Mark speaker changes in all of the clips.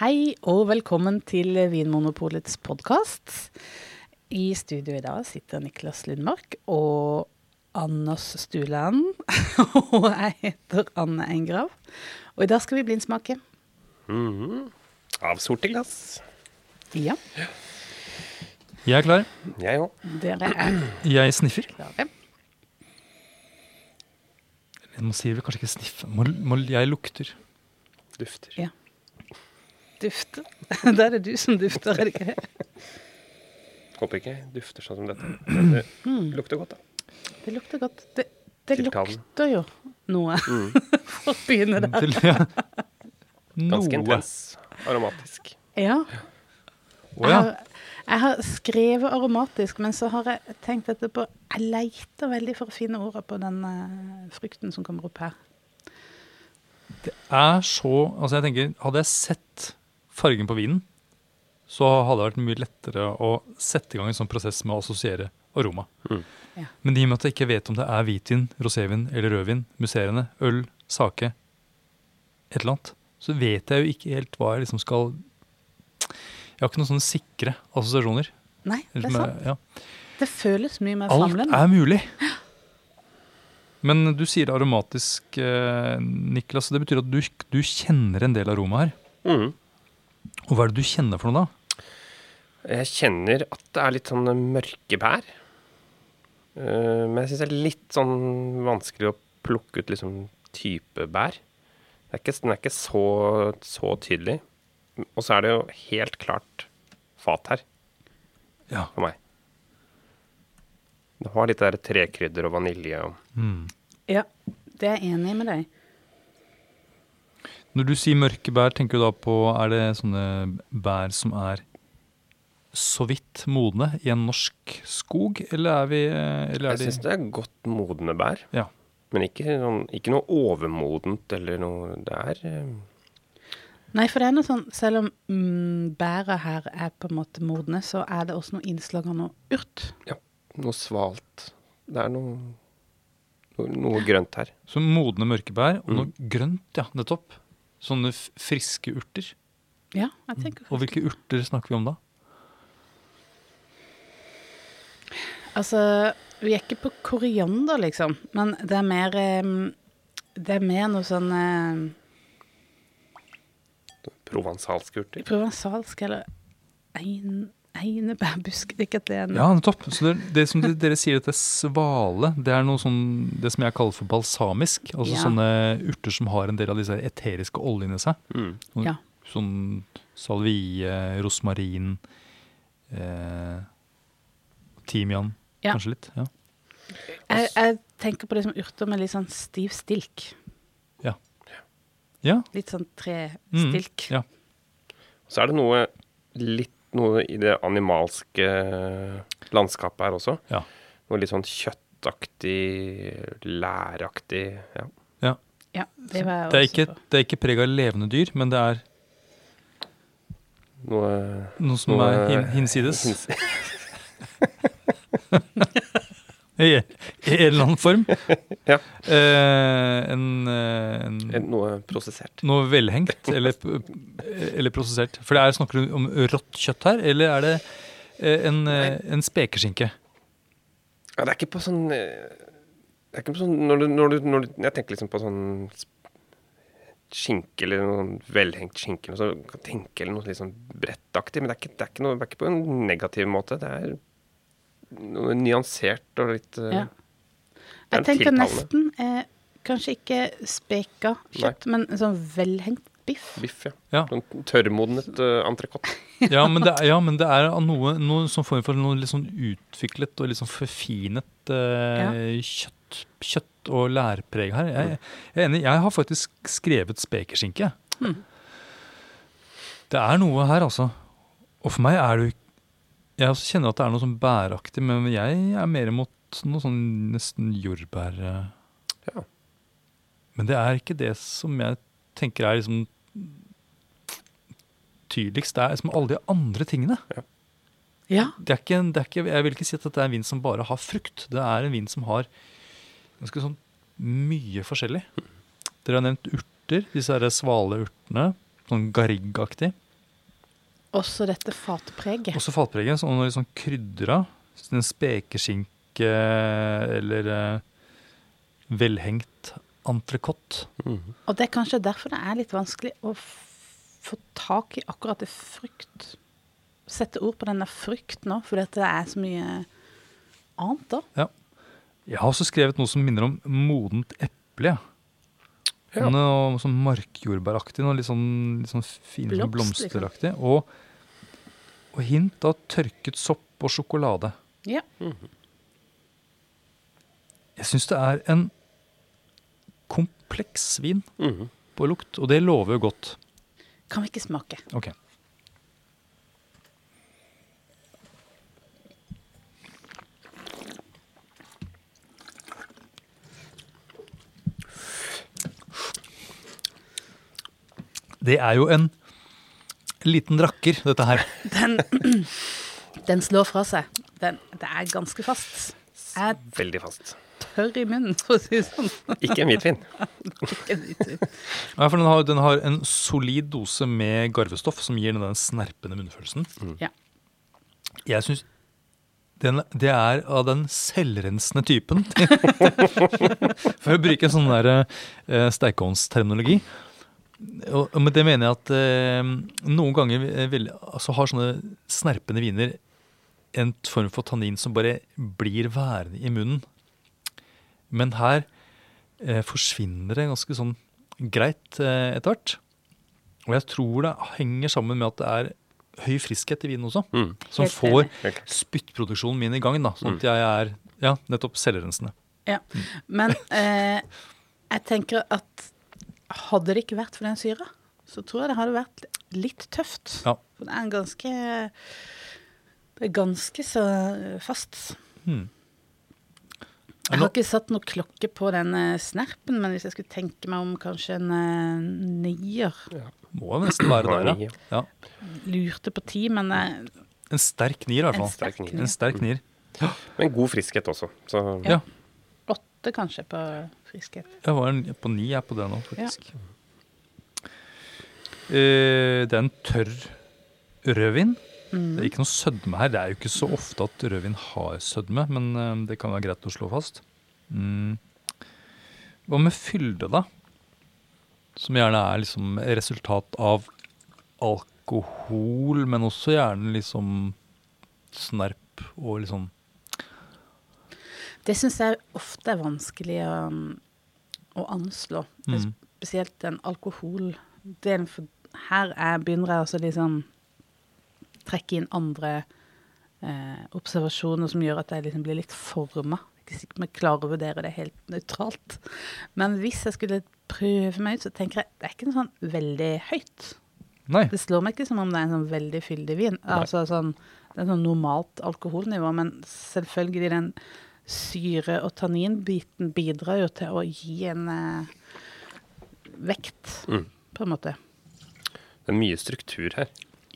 Speaker 1: Hei og velkommen til Vinmonopolets podkast. I studio i dag sitter Niklas Lundmark og Anders Stuland. og jeg heter Anne Engrav. Og i dag skal vi blindsmake.
Speaker 2: Av sorte glass.
Speaker 1: Ja,
Speaker 3: Jeg er klar.
Speaker 2: Jeg òg.
Speaker 1: dere er
Speaker 3: Jeg sniffer.
Speaker 1: klare.
Speaker 3: Man sier vel kanskje ikke sniffe. Må, må, jeg lukter.
Speaker 2: Dufter.
Speaker 1: Ja. Dufte. Da er det du som dufter, er det ikke det?
Speaker 2: Håper ikke jeg dufter sånn som dette. Det lukter godt, da.
Speaker 1: Det lukter godt. Det, det
Speaker 2: Til tavlen.
Speaker 1: lukter jo noe. For å begynne der.
Speaker 3: Til, ja.
Speaker 2: Ganske
Speaker 3: Noe.
Speaker 2: intens. Aromatisk.
Speaker 1: Ja.
Speaker 3: Å ja.
Speaker 1: Jeg, har, jeg har skrevet aromatisk, men så har jeg tenkt etterpå Jeg leter veldig for å finne ordet på den eh, frukten som kommer opp her.
Speaker 3: Er så Altså, jeg tenker, hadde jeg sett fargen på vinen, så hadde det vært mye lettere å sette i gang en sånn prosess med å assosiere aroma.
Speaker 2: Mm.
Speaker 1: Ja.
Speaker 3: Men i og med at jeg ikke vet om det er hvitvin, rosévin eller rødvin, musserende, øl, sake, et eller annet, så vet jeg jo ikke helt hva jeg liksom skal Jeg har ikke noen sånne sikre assosiasjoner.
Speaker 1: Nei, det er
Speaker 3: Liksom,
Speaker 1: sant.
Speaker 3: Ja.
Speaker 1: Det føles mye mer
Speaker 3: Alt
Speaker 1: samlende.
Speaker 3: er mulig. Men du sier aromatisk, eh, Niklas. Det betyr at du, du kjenner en del aroma her.
Speaker 2: Mm.
Speaker 3: Og hva er det du kjenner for noe, da?
Speaker 2: Jeg kjenner at det er litt sånn mørke bær. Eh, men jeg syns det er litt sånn vanskelig å plukke ut liksom type bær. Det er ikke, den er ikke så, så tydelig. Og så er det jo helt klart fat her
Speaker 3: Ja.
Speaker 2: for meg. Det har litt der trekrydder og vanilje og
Speaker 3: Mm.
Speaker 1: Ja, det er jeg enig med deg.
Speaker 3: Når du sier mørke bær, tenker du da på Er det sånne bær som er så vidt modne i en norsk skog, eller er vi eh, eller er
Speaker 2: Jeg syns
Speaker 3: de,
Speaker 2: det er godt modne bær.
Speaker 3: Ja.
Speaker 2: Men ikke, noen, ikke noe overmodent eller noe Det er eh,
Speaker 1: Nei, for det er noe sånn, selv om mm, bæra her er på en måte modne, så er det også noe innslag av noe urt.
Speaker 2: ja, noe svalt. Det er noe, noe, noe grønt her.
Speaker 3: Så modne mørke bær,
Speaker 2: Mm.
Speaker 3: og noe grønt, ja, nettopp. Sånne f- friske urter.
Speaker 1: Ja, jeg tenker
Speaker 3: Og hvilke urter snakker vi om da? Mm.
Speaker 1: Altså, vi er ikke på koriander, liksom. Men det er mer em, Det er mer noe sånn em,
Speaker 2: Provansalske urter.
Speaker 1: Provensalsk eller ein, einebærbusk Det er ikke at det er en
Speaker 3: Ja, nettopp. Så det, det som de- dere sier at det er svale, det er noe sånn, det som jeg kaller for balsamisk. Altså
Speaker 1: Ja.
Speaker 3: sånne urter som har en del av disse her eteriske oljene i seg.
Speaker 2: Mm.
Speaker 3: Sånn,
Speaker 1: Ja.
Speaker 3: sånn salvie, rosmarin, eh, timian
Speaker 1: Ja.
Speaker 3: kanskje litt. Ja.
Speaker 1: Jeg, jeg tenker på det som urter med litt sånn stiv stilk.
Speaker 3: ja.
Speaker 1: Litt sånn
Speaker 3: Mm.
Speaker 1: trestilk.
Speaker 3: ja.
Speaker 2: Så er det noe litt noe i det animalske eh, landskapet her også.
Speaker 3: Ja.
Speaker 2: Noe litt sånn kjøttaktig, læraktig ja.
Speaker 3: ja.
Speaker 1: Ja, det var jeg
Speaker 3: Det
Speaker 1: også
Speaker 3: er ikke,
Speaker 1: på.
Speaker 3: det er ikke preg av levende dyr, men det er
Speaker 2: Noe
Speaker 3: noe som
Speaker 2: Noe-
Speaker 3: er hin hinsides.
Speaker 2: hins-
Speaker 3: I, I en eller annen form.
Speaker 2: Ja.
Speaker 3: Eh, en, eh, en,
Speaker 2: Noe prosessert.
Speaker 3: Noe velhengt eller, eller prosessert? For det er, Snakker du om rått kjøtt her, eller er det eh, en, eh, en spekeskinke?
Speaker 2: Ja, det er ikke på sånn eh, Det er ikke på sånn Når du, når du, når du Jeg tenker liksom på sånn s- skinke eller noe sånn velhengt skinke eller noe sånt. Kan tenke eller noe litt sånn brettaktig, men det er ikke, det er ikke, noe, det er ikke på en negativ måte. Det er noe nyansert og litt eh,
Speaker 1: Ja.
Speaker 2: det er
Speaker 1: Jeg tenker
Speaker 2: tiltalende.
Speaker 1: nesten eh, Kanskje ikke speka kjøtt, men sånn velhengt biff.
Speaker 2: biff, ja.
Speaker 3: Ja.
Speaker 2: Sånn tørrmodnet uh, entrecôte.
Speaker 3: Ja, men det, er- ja, men det er av noe, noe som form for noe litt sånn utviklet og litt sånn forfinet eh, kjøtt, kjøtt og lærpreg her. Jeg, jeg er enig. Jeg har faktisk skrevet spekeskinke. Det er noe her, altså. Og for meg er det jo ikk- Jeg også kjenner at det er noe sånn bæraktig, men jeg er mer imot noe sånn nesten jordbær. eh.
Speaker 2: Ja.
Speaker 3: Men det er ikke det som jeg tenker er liksom tydeligst. Det er liksom alle de andre tingene.
Speaker 1: Ja.
Speaker 3: Det er ikke, en- det er ikke, jeg vil ikke si at dette er en vin som bare har frukt. Det er en vin som har ganske sånn mye forskjellig. Dere har nevnt urter, disse her svale urtene. Sånn garriggaktig.
Speaker 1: Også dette fatpreget.
Speaker 3: Også fatpreget. Så når det er sånn krydra, så en spekeskinke eller eh, velhengt entrecôte
Speaker 2: Mhm.
Speaker 1: Og det er kanskje derfor det er litt vanskelig å f- få tak i akkurat det frykt. Sette ord på denne frykt nå, fordi at det er så mye annet da.
Speaker 3: Jeg har også skrevet noe som minner om modent eple.
Speaker 2: Ja.
Speaker 3: Ja. Noe sånn markjordbæraktig, noe litt sånn, litt sånn fint sånn
Speaker 1: Blomst, liksom.
Speaker 3: blomsteraktig. Og, og hint av tørket sopp og sjokolade.
Speaker 1: Ja.
Speaker 3: Jeg syns det er en kompleks vin
Speaker 2: Mhm.
Speaker 3: på lukt, og det lover jo godt.
Speaker 1: Kan vi ikke smake?
Speaker 3: Ok. Det er jo en liten rakker, dette her.
Speaker 1: Den, den slår fra seg. Den, det er ganske fast. Jeg
Speaker 2: Veldig fast.
Speaker 1: tørr i munnen, for å si det sånn.
Speaker 2: Ikke en hvitvin.
Speaker 1: Ikke en liten-
Speaker 3: Ja, for den har, den har en solid dose med garvestoff som gir den den snerpende munnfølelsen.
Speaker 1: Ja.
Speaker 3: Jeg syns den, det er av den selvrensende typen. For å bruke en sånn der eh, steikeovnsterminologi. Og, og med det mener jeg at eh, noen ganger vi- eh, vil, altså har sånne snerpende viner en form for tannin som bare blir værende i munnen. Men her eh, forsvinner det ganske sånn greit eh, etter hvert. Og jeg tror det henger sammen med at det er høy friskhet i vinen også.
Speaker 2: Mm.
Speaker 3: Som
Speaker 1: Helt
Speaker 3: får
Speaker 1: enig.
Speaker 2: Helt klart.
Speaker 3: spyttproduksjonen min i gang, da, sånn at jeg er ja, nettopp selvrensende.
Speaker 1: Ja. Men eh, jeg tenker at hadde det ikke vært for den syra, så tror jeg det hadde vært litt tøft.
Speaker 3: Ja.
Speaker 1: For det er en ganske Det er ganske så fast.
Speaker 3: Hmm.
Speaker 1: Jeg
Speaker 3: Er det
Speaker 1: har
Speaker 3: noe-
Speaker 1: ikke satt noe klokke på den eh, snerpen, men hvis jeg skulle tenke meg om kanskje en eh, nier
Speaker 3: Må jo nesten være
Speaker 2: Har
Speaker 3: der,
Speaker 2: ni,
Speaker 3: ja. ja.
Speaker 1: Lurte på ti, men eh,
Speaker 3: En sterk nier, i hvert
Speaker 1: en
Speaker 3: fall.
Speaker 1: sterk
Speaker 2: nier.
Speaker 3: En
Speaker 1: nier.
Speaker 3: sterk nier.
Speaker 2: Men god friskhet også. Så
Speaker 3: Ja.
Speaker 1: Åtte kanskje på friskhet.
Speaker 3: Jeg var en, på ni jeg er på det nå, faktisk. Eh, det er en tørr rødvin.
Speaker 1: Mm.
Speaker 3: Det er ikke noe sødme her. Det er jo ikke så ofte at rødvin har sødme, men eh, det kan være greit å slå fast. Mm. Hva med fylde, da? Som gjerne er liksom resultat av alkohol, men også gjerne liksom snerp og liksom
Speaker 1: Det syns jeg ofte er vanskelig å, å anslå.
Speaker 3: Mm.
Speaker 1: Spesielt den alkoholdelen. For her er, begynner jeg også liksom trekke inn andre eh, observasjoner som gjør at jeg liksom blir litt forma. Ikke sikkert om jeg klarer å vurdere det helt nøytralt. Men hvis jeg skulle prøve meg ut, så tenker jeg det er ikke noe sånn veldig høyt.
Speaker 3: Nei.
Speaker 1: Det slår meg ikke som om det er en sånn veldig fyldig vin. Altså sånn, det er sånn normalt alkoholnivå, men selvfølgelig den syre- og tanninbiten bidrar jo til å gi en eh, vekt,
Speaker 2: Mm.
Speaker 1: på en måte.
Speaker 2: det er mye struktur her.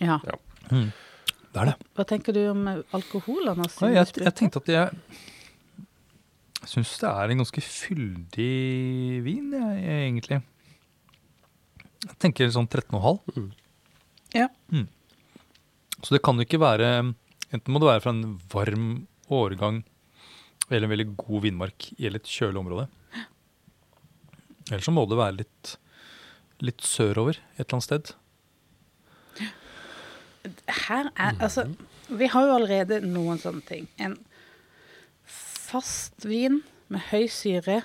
Speaker 1: Ja.
Speaker 2: Ja.
Speaker 3: Det er det.
Speaker 1: Hva tenker du om eh, alkohol, Anders?
Speaker 3: Nei, jeg, jeg tenkte at jeg syns det er en ganske fyldig vin, jeg, jeg, egentlig. Jeg tenker sånn 13,5.
Speaker 1: Ja.
Speaker 3: Mm. Så det kan jo ikke være Enten må det være fra en varm årgang eller en veldig god vinmark i et litt kjølig område. Eller så må det være litt, litt sørover et eller annet sted.
Speaker 1: her er Altså, vi har jo allerede noen sånne ting. En fast vin med høy syre,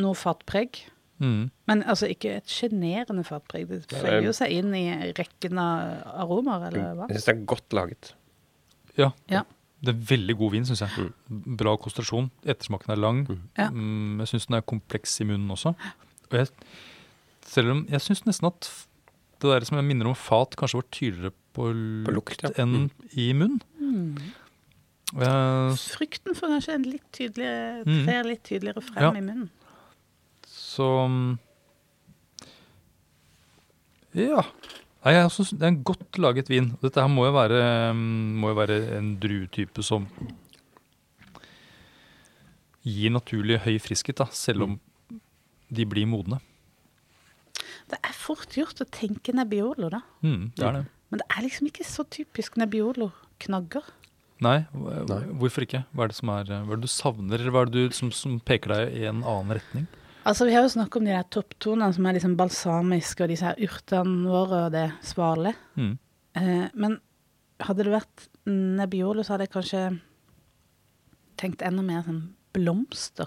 Speaker 1: noe fatpreg.
Speaker 3: Mm.
Speaker 1: Men altså ikke et sjenerende fatpreg. Det føyer jo seg inn i rekken av aromaer,
Speaker 3: Mm.
Speaker 1: eller hva?
Speaker 2: Jeg syns det er godt laget.
Speaker 3: Ja.
Speaker 1: Ja.
Speaker 3: Det er veldig god vin, syns jeg. Bra konsentrasjon. Ettersmaken er lang.
Speaker 1: Ja.
Speaker 3: Mm, jeg syns den er kompleks i munnen også. Og jeg, selv om jeg syns nesten at f- det der som jeg minner om fat, kanskje var tydeligere på,
Speaker 2: På
Speaker 3: lukt Mm.
Speaker 2: lukt, ja. Mm.
Speaker 3: enn i munn. Og jeg,
Speaker 1: Frykten Mm. får kanskje en litt tydeligere,
Speaker 3: Mm.
Speaker 1: trer litt tydeligere frem
Speaker 3: Ja.
Speaker 1: i munnen.
Speaker 3: så mm, Ja. Nei, jeg synes det er en godt laget vin. Dette her må jo være, mm, må jo være en druetype som gir naturlig høy friskhet, da, selv om de blir modne.
Speaker 1: Det er fort gjort å tenke Nebbiolo, da.
Speaker 3: Mm, det er det.
Speaker 1: Men det er liksom ikke så typisk Nebbiolo-knagger.
Speaker 3: Nei, hva- hvorfor ikke? Hva er det som er, hva er det du savner, eller hva er det du, som, som peker deg i en annen retning?
Speaker 1: Altså, Vi har jo snakket om de der topptonene som er liksom balsamiske, og disse her urtene våre og det svale.
Speaker 3: Mm.
Speaker 1: Eh, men hadde det vært Nebbiolo, så hadde jeg kanskje tenkt enda mer sånn blomster.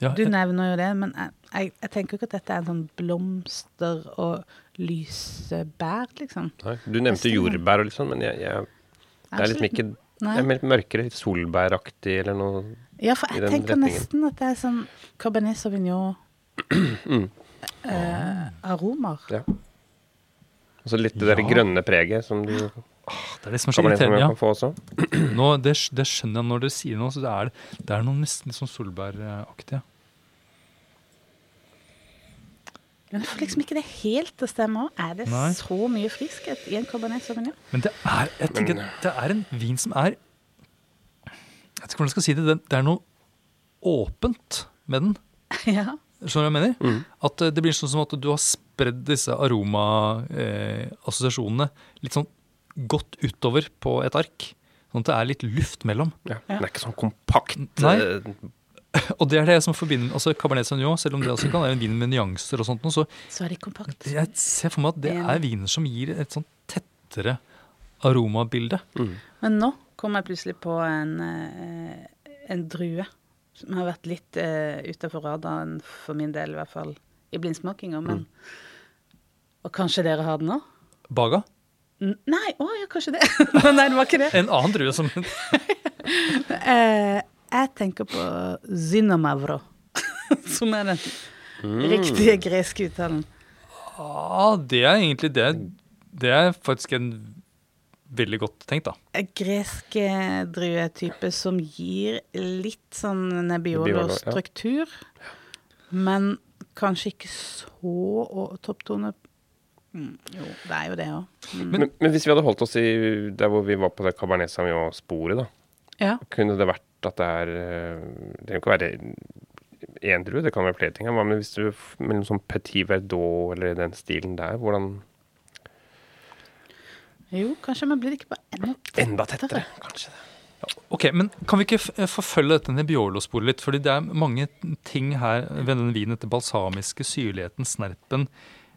Speaker 3: Ja,
Speaker 1: Du
Speaker 3: jeg-
Speaker 1: nevner jo det, men jeg, jeg, jeg tenker jo ikke at dette er en sånn blomster- og lysebær, liksom.
Speaker 2: Nei, du nevnte jordbær og litt sånn, men jeg, jeg, det er liksom
Speaker 1: Absolutt.
Speaker 2: ikke det
Speaker 1: Nei.
Speaker 2: er litt mørkere, litt solbæraktig eller noe.
Speaker 1: Ja, for
Speaker 2: i
Speaker 1: jeg
Speaker 2: den
Speaker 1: tenker
Speaker 2: retningen.
Speaker 1: nesten at det er sånn Cabernet Sauvignon
Speaker 3: Ah,
Speaker 1: eh, Aromer.
Speaker 2: Ja. Og så litt det der
Speaker 3: Ja.
Speaker 2: grønne preget som du
Speaker 3: det er det som er så
Speaker 2: kommer ned som
Speaker 3: irriterende.
Speaker 2: jeg
Speaker 3: Ja.
Speaker 2: kan få også.
Speaker 3: Nå, det, sk- det skjønner jeg når dere sier noe, så det er, det er noe nesten litt sånn solbæraktig. ja.
Speaker 1: Men jeg får liksom ikke det helt til å stemme. også. Er det
Speaker 3: Nei.
Speaker 1: så mye friskhet i en Cabernet Sauvignon?
Speaker 3: Men det er, jeg tenker, at det er en vin som er Jeg vet ikke hvordan jeg skal si det. Det, det er noe åpent med den.
Speaker 1: ja.
Speaker 3: Skjønner du hva jeg mener? At eh, det blir sånn som at du har spredd disse aromaassosiasjonene litt sånn godt utover på et ark. Sånn at det er litt luft mellom.
Speaker 2: Ja. Det er ikke sånn kompakt.
Speaker 3: Nei.
Speaker 2: eh,
Speaker 3: Og det er det som forbinder altså Cabernet Sauvignon, selv om det også kan være en vin med nyanser og sånt, noe, så
Speaker 1: Så er det kompakt.
Speaker 3: jeg ser for meg at det er viner som gir et sånn tettere aromabilde.
Speaker 1: Men nå kom jeg plutselig på en, eh, en drue som har vært litt uh, utafor radaren for min del, i hvert fall i blindsmakinga, men
Speaker 2: Mm.
Speaker 1: Og kanskje dere har den nå?
Speaker 3: Baga.
Speaker 1: N- Nei, å ja, kanskje det. Nei, det var ikke det.
Speaker 3: En annen drue som
Speaker 1: Eh, jeg tenker på Zynomavro, som er den riktige greske uttalen.
Speaker 3: Ja, det er egentlig det. Det er faktisk en veldig godt tenkt, da.
Speaker 1: En gresk eh, druetype som gir litt sånn
Speaker 2: Nebbiolo, ja.
Speaker 1: nebbiolo-struktur, men kanskje ikke så å- topptone. Mm, jo, det er jo det òg.
Speaker 2: Men, men hvis vi hadde holdt oss i der hvor vi var på det Cabernet Sauvignon-sporet, da,
Speaker 1: Ja.
Speaker 2: kunne det vært at det er eh, Det kan ikke være én drue, det kan være flere ting. her, Hva med hvis du f- mellom sånn Petit Verdot eller den stilen der? Hvordan
Speaker 1: Jo, kanskje, men blir det ikke bare enda
Speaker 2: Enda tettere, kanskje. det.
Speaker 3: Ok, men Kan vi ikke f- eh, forfølge dette Nebbiolo-sporet litt? Fordi det er mange ting her ved denne vinen. Dette balsamiske, syrligheten, snerpen.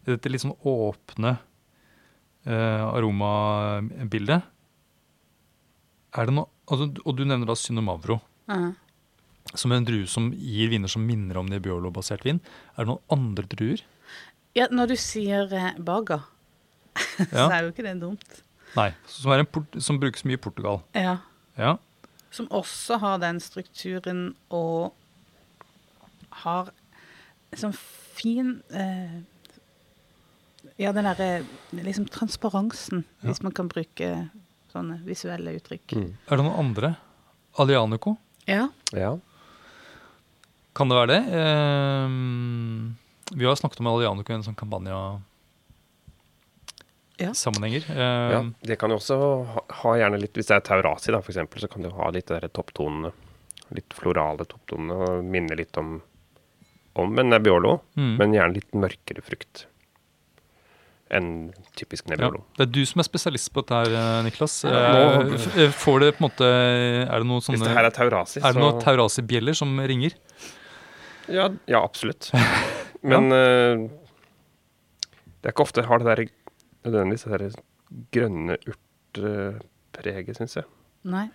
Speaker 3: Dette litt sånn åpne eh, aromabildet. Er det noe, altså, og du nevner da Synomavro,
Speaker 1: Ja.
Speaker 3: som er en drue som gir viner som minner om Nebbiolo-basert vin. Er det noen andre druer?
Speaker 1: Ja, når du sier eh, baga, så
Speaker 3: Ja.
Speaker 1: er jo ikke det dumt.
Speaker 3: Nei. Som, er en port, som brukes mye i Portugal.
Speaker 1: Ja.
Speaker 3: Ja.
Speaker 1: Som også har den strukturen og har sånn fin eh, Ja, den derre liksom transparensen, hvis man kan bruke sånne visuelle uttrykk.
Speaker 3: Er det noen andre? Alianico?
Speaker 1: Ja.
Speaker 2: Ja.
Speaker 3: Kan det være det? Ehm, vi har snakket om Alianico i en sånn kampanja-sammenhenger.
Speaker 1: Ja.
Speaker 2: ja.
Speaker 3: Ehm,
Speaker 2: Det kan jo også ha, ha gjerne litt Hvis det er Taurasi, da, for eksempel, så kan det jo ha litt de der topptonene. Litt florale topptonene og minne litt om, om en Nebbiolo,
Speaker 3: Mm.
Speaker 2: men gjerne litt mørkere frukt enn typisk
Speaker 3: ja.
Speaker 2: Nebbiolo.
Speaker 3: Det er du som er spesialist på dette, her, eh, Niklas.
Speaker 2: Ja, nå-
Speaker 3: Eh, f- eh, får det på en måte Er det noen
Speaker 2: Hvis
Speaker 3: sånne
Speaker 2: det her er Taurasi,
Speaker 3: er det noen
Speaker 2: så
Speaker 3: Taurasi-bjeller som ringer?
Speaker 2: Ja, ja absolutt. Men eh, det er ikke ofte jeg har det der nødvendigvis det der grønne urtpreget, syns jeg.
Speaker 1: Nei.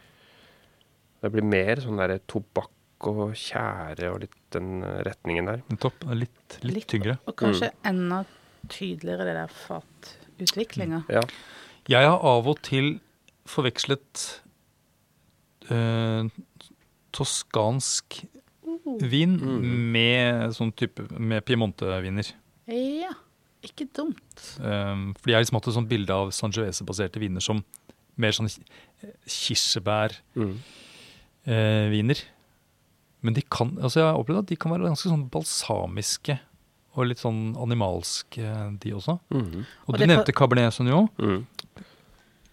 Speaker 2: Det blir mer sånn der tobakk og tjære og litt den eh, retningen der.
Speaker 3: Nettopp. Litt, litt,
Speaker 1: Litt.
Speaker 3: tyngre.
Speaker 1: Og kanskje enda tydeligere det der fatutviklinga.
Speaker 2: Ja.
Speaker 3: Jeg har av og til forvekslet eh, toskansk
Speaker 1: Mm.
Speaker 3: vin med sånn type med piemonteviner.
Speaker 1: Ja. Ikke dumt.
Speaker 3: Um, fordi jeg har liksom hatt et sånt bilde av Sangiovese-baserte viner som mer sånn kirsebærviner.
Speaker 2: Mm.
Speaker 3: Eh, viner. Men de kan, altså jeg har opplevd at de kan være ganske sånn balsamiske og litt sånn animalske, eh, de også.
Speaker 2: Mhm.
Speaker 3: Og,
Speaker 1: Og
Speaker 3: du
Speaker 1: det kan-
Speaker 3: nevnte Cabernet Sauvignon.
Speaker 2: Mm.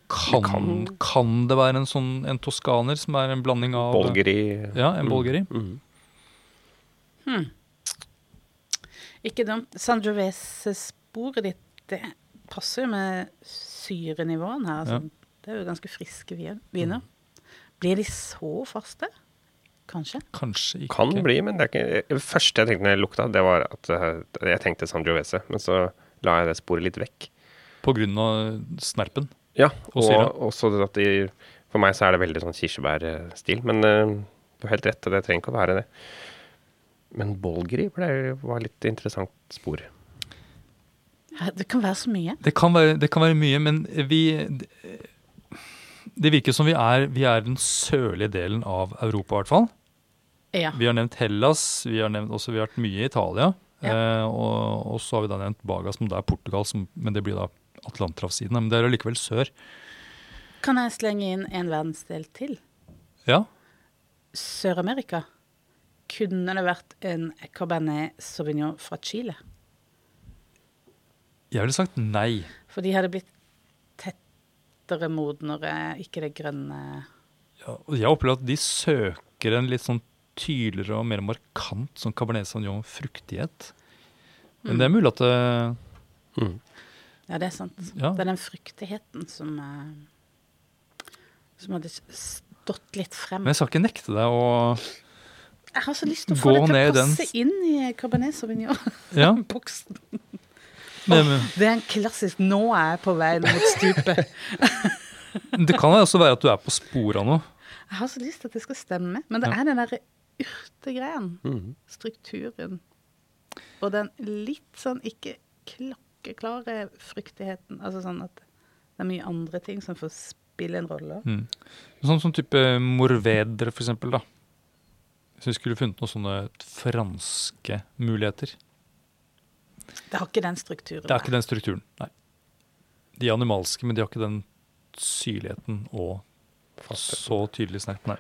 Speaker 3: Kan, kan.
Speaker 2: kan-
Speaker 3: det være en sånn en toskaner som er en blanding av
Speaker 2: Bolgeri.
Speaker 3: Ja, en bolgeri.
Speaker 2: Mhm.
Speaker 1: Ikke dumt. Sangioveses bordet ditt det passer jo med syrenivåen her. Altså.
Speaker 3: Ja.
Speaker 1: Det er jo ganske friske vin- viner. Blir de så faste? Kanskje.
Speaker 3: Kanskje ikke.
Speaker 2: Kan bli, men det er ikke Det første jeg tenkte når jeg lukta, det var at eh, jeg tenkte Sangiovese, men så la jeg det sporet litt vekk.
Speaker 3: På grunn av snerpen.
Speaker 2: Ja,
Speaker 3: Og
Speaker 2: og
Speaker 3: syre.
Speaker 2: også at de For meg så er det veldig sånn kirsebærstil, men eh, du har helt rett, det trenger ikke å være det. Men Bolgeri ble, var litt interessant spor.
Speaker 1: Her- Det kan være så mye.
Speaker 3: Det kan være, det kan være mye, men vi Det virker som vi er, vi er den sørlige delen av Europa, i hvert fall.
Speaker 1: Ja.
Speaker 3: Vi har nevnt Hellas, vi har nevnt også, vi har vært mye i Italia. Eh, og, og så har vi da nevnt Baga, som da er Portugal, som, men det blir da Atlanterhavssiden. Men det er allikevel sør.
Speaker 1: Kan jeg slenge inn en verdensdel til?
Speaker 3: Ja,
Speaker 1: Sør-Amerika. Kunne det vært en Cabernet Sauvignon fra Chile?
Speaker 3: jeg ville sagt nei.
Speaker 1: For de hadde blitt tettere modnere, ikke det grønne
Speaker 3: Ja, og jeg opplever at de søker en litt sånn tydeligere og mer markant sånn Cabernet Sauvignon-fruktighet. Men det er mulig at eh, det-
Speaker 1: Ja, det er sant.
Speaker 3: Ja.
Speaker 1: Det er den fruktigheten som eh, Som hadde stått litt frem.
Speaker 3: Men jeg skal ikke nekte deg å
Speaker 1: Jeg har så lyst til å få det
Speaker 3: Gå
Speaker 1: til
Speaker 3: ned
Speaker 1: å
Speaker 3: i den.
Speaker 1: passe inn i Cabernet Sauvignon-boksen.
Speaker 3: Ja, men, men-
Speaker 1: Det er en klassisk 'nå er jeg på vei mot stupet'.
Speaker 3: det kan også være at du er på sporet av noe.
Speaker 1: Jeg har så lyst til at det skal stemme, men det
Speaker 3: Ja.
Speaker 1: er den derre urtegreien.
Speaker 2: Mhm.
Speaker 1: Strukturen. Og den litt sånn ikke klokkeklare fruktigheten. Altså sånn at det er mye andre ting som får spille en rolle.
Speaker 3: Mm. Sånn som type morvedere, for eksempel, da. Hvis vi skulle funnet noen sånne franske muligheter.
Speaker 1: Det har ikke den strukturen.
Speaker 3: Det er ikke den strukturen, nei. De er animalske, men de har ikke den syrligheten og så tydelig snerp, nei.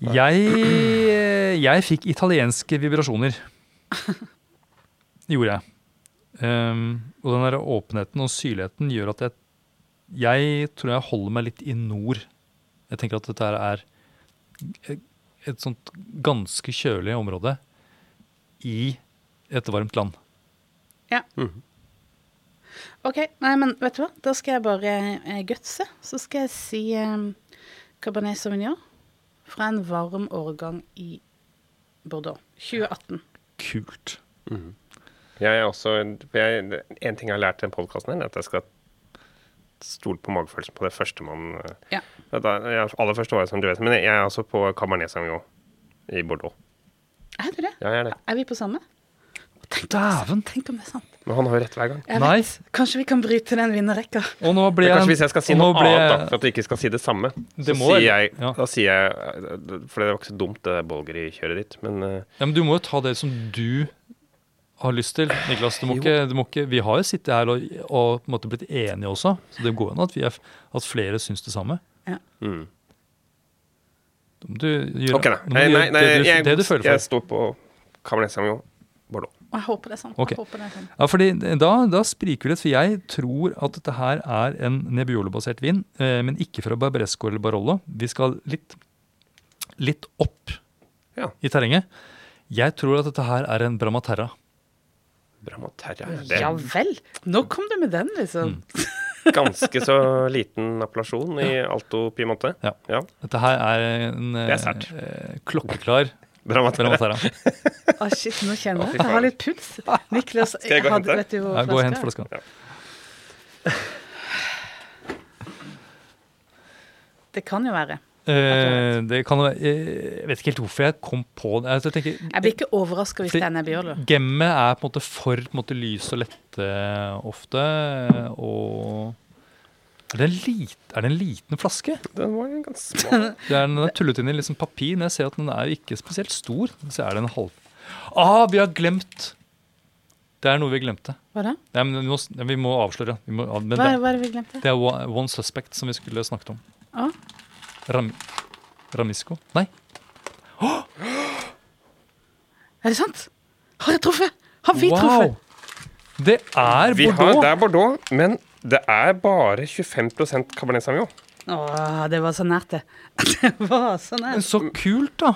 Speaker 3: Jeg, jeg fikk italienske vibrasjoner. Det gjorde jeg. Ehm, og den der åpenheten og syrligheten gjør at jeg, jeg tror jeg holder meg litt i nord. Jeg tenker at dette her er et sånt ganske kjølig område i et varmt land.
Speaker 1: OK, nei, men vet du hva? Da skal jeg bare eh, gutse. Så skal jeg si eh, Cabernet Sauvignon fra en varm årgang i Bordeaux. 2018.
Speaker 3: Kult.
Speaker 2: Jeg er også, for jeg, en ting jeg har lært i den podkasten, er at jeg skal stole på magefølelsen på det første man eh,
Speaker 1: Ja.
Speaker 2: at da- jeg- Aller første var det som du vet, men jeg er også på Cabernet Sauvignon i Bordeaux.
Speaker 1: Er du det?
Speaker 2: Ja, jeg er det.
Speaker 1: Er vi på samme? Tenk om, det er
Speaker 3: Dæven!
Speaker 1: sant. Tenk om det er sant.
Speaker 2: Men han har jo rett hver gang.
Speaker 1: Jeg
Speaker 3: Nei.
Speaker 1: vet. Kanskje vi kan bryte den vinnerrekka.
Speaker 3: Og nå ble
Speaker 2: Men
Speaker 3: jeg
Speaker 2: kanskje hvis jeg skal si
Speaker 3: og
Speaker 2: noe
Speaker 3: nå ble
Speaker 2: annet, da,
Speaker 3: jeg-
Speaker 2: for at du ikke skal si det samme,
Speaker 3: Det
Speaker 2: så
Speaker 3: må
Speaker 2: sier
Speaker 3: jeg-
Speaker 2: jeg,
Speaker 3: ja.
Speaker 2: da sier jeg For det var ikke så dumt, det bolgerikjøret ditt, men eh,
Speaker 3: Ja, men du må jo ta det som du har lyst til, Niklas. Du må ikke, du må ikke, vi har jo sittet her og, og på en måte blitt enige også, så det går an at, vi er, at flere syns det samme.
Speaker 1: Ja.
Speaker 2: Mm.
Speaker 3: Da må du gjøre,
Speaker 2: OK, da.
Speaker 3: da må du
Speaker 2: Nei, nei,
Speaker 3: gjøre
Speaker 2: nei
Speaker 3: det, du,
Speaker 2: jeg,
Speaker 3: det du føler
Speaker 2: jeg
Speaker 3: for.
Speaker 2: står på Cabernet Sauvignon Bordeaux.
Speaker 1: Og jeg håper det er sant.
Speaker 3: Ok.
Speaker 1: Jeg håper det er sant.
Speaker 3: Ja, fordi da, da spriker vi litt, for jeg tror at dette her er en Nebbiolo-basert vin, eh, men ikke fra Barbaresco eller Barolo. Vi skal litt, litt opp
Speaker 2: Ja.
Speaker 3: i terrenget. Jeg tror at dette her er en Bramaterra.
Speaker 2: Bramaterra. Det Mm.
Speaker 1: Ja vel! Nå kom du med den, liksom.
Speaker 2: er ganske så liten appellasjon i Alto Piemonte.
Speaker 3: Ja.
Speaker 2: ja.
Speaker 3: Dette her er en eh,
Speaker 2: Det er sært.
Speaker 3: eh, klokkeklar
Speaker 2: Bramaterra.
Speaker 3: Bramaterra.
Speaker 1: Å, Ah, shit, nå kjenner
Speaker 2: Å, fy
Speaker 1: jeg Jeg har
Speaker 2: faen.
Speaker 1: litt puls. Niklas,
Speaker 2: Skal jeg gå og
Speaker 1: hadde-
Speaker 2: hente?
Speaker 1: vet du hvor
Speaker 3: Ja, gå og hent
Speaker 1: flaska er?
Speaker 3: flaska.
Speaker 1: Det kan jo være.
Speaker 3: Eh, det kan være eh, Jeg vet ikke helt hvorfor jeg kom på det. Altså, Jeg
Speaker 1: Jeg
Speaker 3: tenker,
Speaker 1: blir ikke overraska hvis
Speaker 3: Fordi-
Speaker 1: det er Nebbiolo.
Speaker 3: Gemmet er på en måte for på en måte, lys og lette eh, ofte, eh, og er det, en lit, er det en liten flaske?
Speaker 2: Den var jo ganske smal.
Speaker 3: Det er, den er tullet inn i liksom papir, men jeg ser at den er jo ikke spesielt stor. Så er det en halv... Ah, vi har glemt! Det er noe vi glemte.
Speaker 1: Hva da?
Speaker 3: Nei, men vi må, vi må avsløre. Vi må, av- men
Speaker 1: Hva,
Speaker 3: det,
Speaker 1: hva er det vi glemte?
Speaker 3: det er One One Suspect som vi skulle snakket om.
Speaker 1: Å,
Speaker 3: Ram, Ramisco? Nei.
Speaker 1: er det sant? Har jeg truffet? Har vi truffet?
Speaker 3: Det er
Speaker 2: Vi har,
Speaker 3: Bordeaux.
Speaker 2: det er Bordeaux, men det er bare 25 Cabernet Sauvignon.
Speaker 1: Å, det var så nært, det. Det var så
Speaker 3: Men
Speaker 1: nært.
Speaker 3: Så kult, da.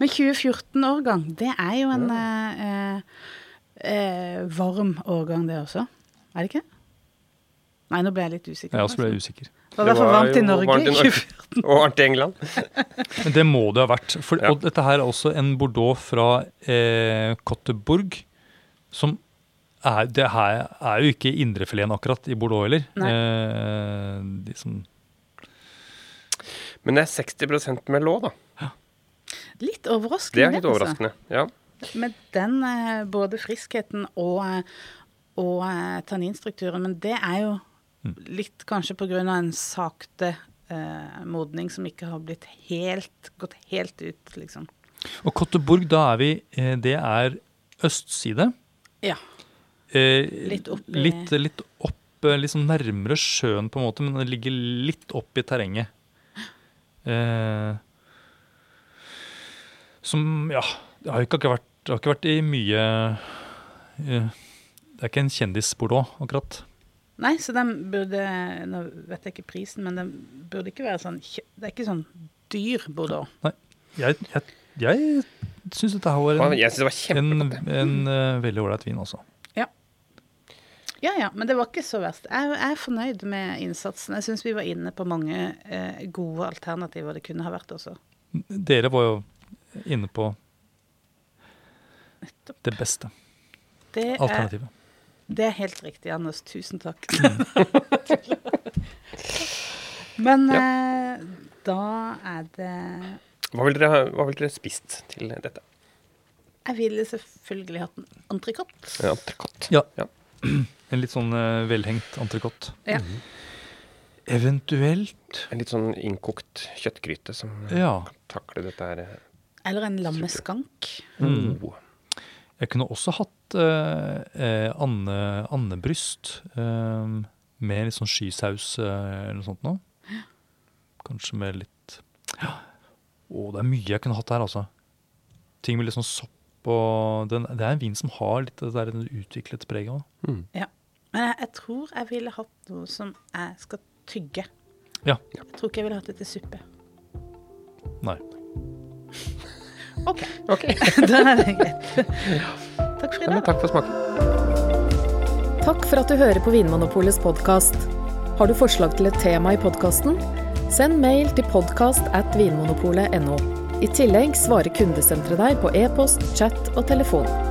Speaker 1: Men 2014-årgang, det er jo en eh, eh, eh, varm årgang, det også. Er det ikke? Nei, nå ble jeg litt usikker.
Speaker 3: Jeg også ble usikker.
Speaker 1: Det var i hvert fall varmt i
Speaker 2: jo
Speaker 1: Norge.
Speaker 2: varmt i Norge.
Speaker 1: 24.
Speaker 2: Og artig England.
Speaker 3: Men det må det ha vært. For,
Speaker 2: Ja.
Speaker 3: Og dette her er også en Bordeaux fra eh, Cotteburg. Som er, det her er jo ikke indrefileten akkurat i Bordeaux heller.
Speaker 1: Nei.
Speaker 3: Eh, de som,
Speaker 2: Men det er 60 Merlot, da.
Speaker 1: Litt overraskende.
Speaker 2: Det er litt
Speaker 1: altså.
Speaker 2: overraskende. Ja.
Speaker 1: Med den eh, både friskheten og, eh, og eh, tanninstrukturen. Men det er jo litt kanskje pga. en sakte eh, modning som ikke har blitt helt, gått helt ut, liksom.
Speaker 3: og Cotteburg, da er vi eh, Det er østside.
Speaker 1: Ja.
Speaker 3: Eh,
Speaker 1: Litt opp i-
Speaker 3: litt, litt opp eh, liksom nærmere sjøen, på en måte, men det ligger litt opp i terrenget. Eh, som Ja, det har jo ikke akkurat vært, det har ikke vært i mye eh, Det er ikke en kjendis-Bordeaux, akkurat.
Speaker 1: Nei, så den burde Nå vet jeg ikke prisen, men den burde ikke være sånn kjø- Det er ikke sånn dyr Bordeaux.
Speaker 3: Jeg, jeg, jeg syns dette her var
Speaker 2: Og
Speaker 3: en,
Speaker 2: Jeg syns det var
Speaker 3: en,
Speaker 2: kjempegodt.
Speaker 3: en eh, veldig ålreit vin, altså.
Speaker 1: Ja ja, men det var ikke så verst. Jeg, jeg er fornøyd med innsatsen. Jeg syns vi var inne på mange eh, gode alternativer det kunne ha vært også.
Speaker 3: Dere var jo inne på det beste
Speaker 1: Det er
Speaker 3: alternativet.
Speaker 1: Det er helt riktig, Anders. Tusen takk. Men eh, da er det
Speaker 2: Hva ville dere, ha- hva ville dere spist til dette?
Speaker 1: Jeg ville selvfølgelig hatt en entrecôte.
Speaker 2: Ja, entrecôte.
Speaker 3: Ja.
Speaker 2: Ja.
Speaker 3: En litt sånn eh, velhengt entrecôte.
Speaker 1: Ja.
Speaker 3: Eventuelt
Speaker 2: En litt sånn innkokt kjøttgryte som eh,
Speaker 3: Ja.
Speaker 2: kan takle dette her. eh,
Speaker 1: Eller en lammeskank.
Speaker 2: oh.
Speaker 3: Jeg kunne også hatt eh, eh, ande, andebryst eh, med litt sånn skysaus eh, eller noe sånt noe. Kanskje med litt Ja. Å, det er mye jeg kunne hatt her, altså. Ting med litt sånn sopp og den, Det er en vin som har litt det der utviklet preget òg.
Speaker 1: Ja. Men jeg, jeg tror jeg ville hatt noe som jeg skal tygge.
Speaker 3: Ja.
Speaker 1: Jeg tror ikke jeg ville hatt det til suppe.
Speaker 3: Nei.
Speaker 1: OK. da er det greit. Takk for i
Speaker 2: Ja, men
Speaker 1: dag.
Speaker 2: takk for smaken.
Speaker 4: Takk for at du hører på Vinmonopolets podkast. Har du forslag til et tema i podkasten? Send mail til podkast at vinmonopolet.no. I tillegg svarer kundesenteret deg på e-post, chat og telefon.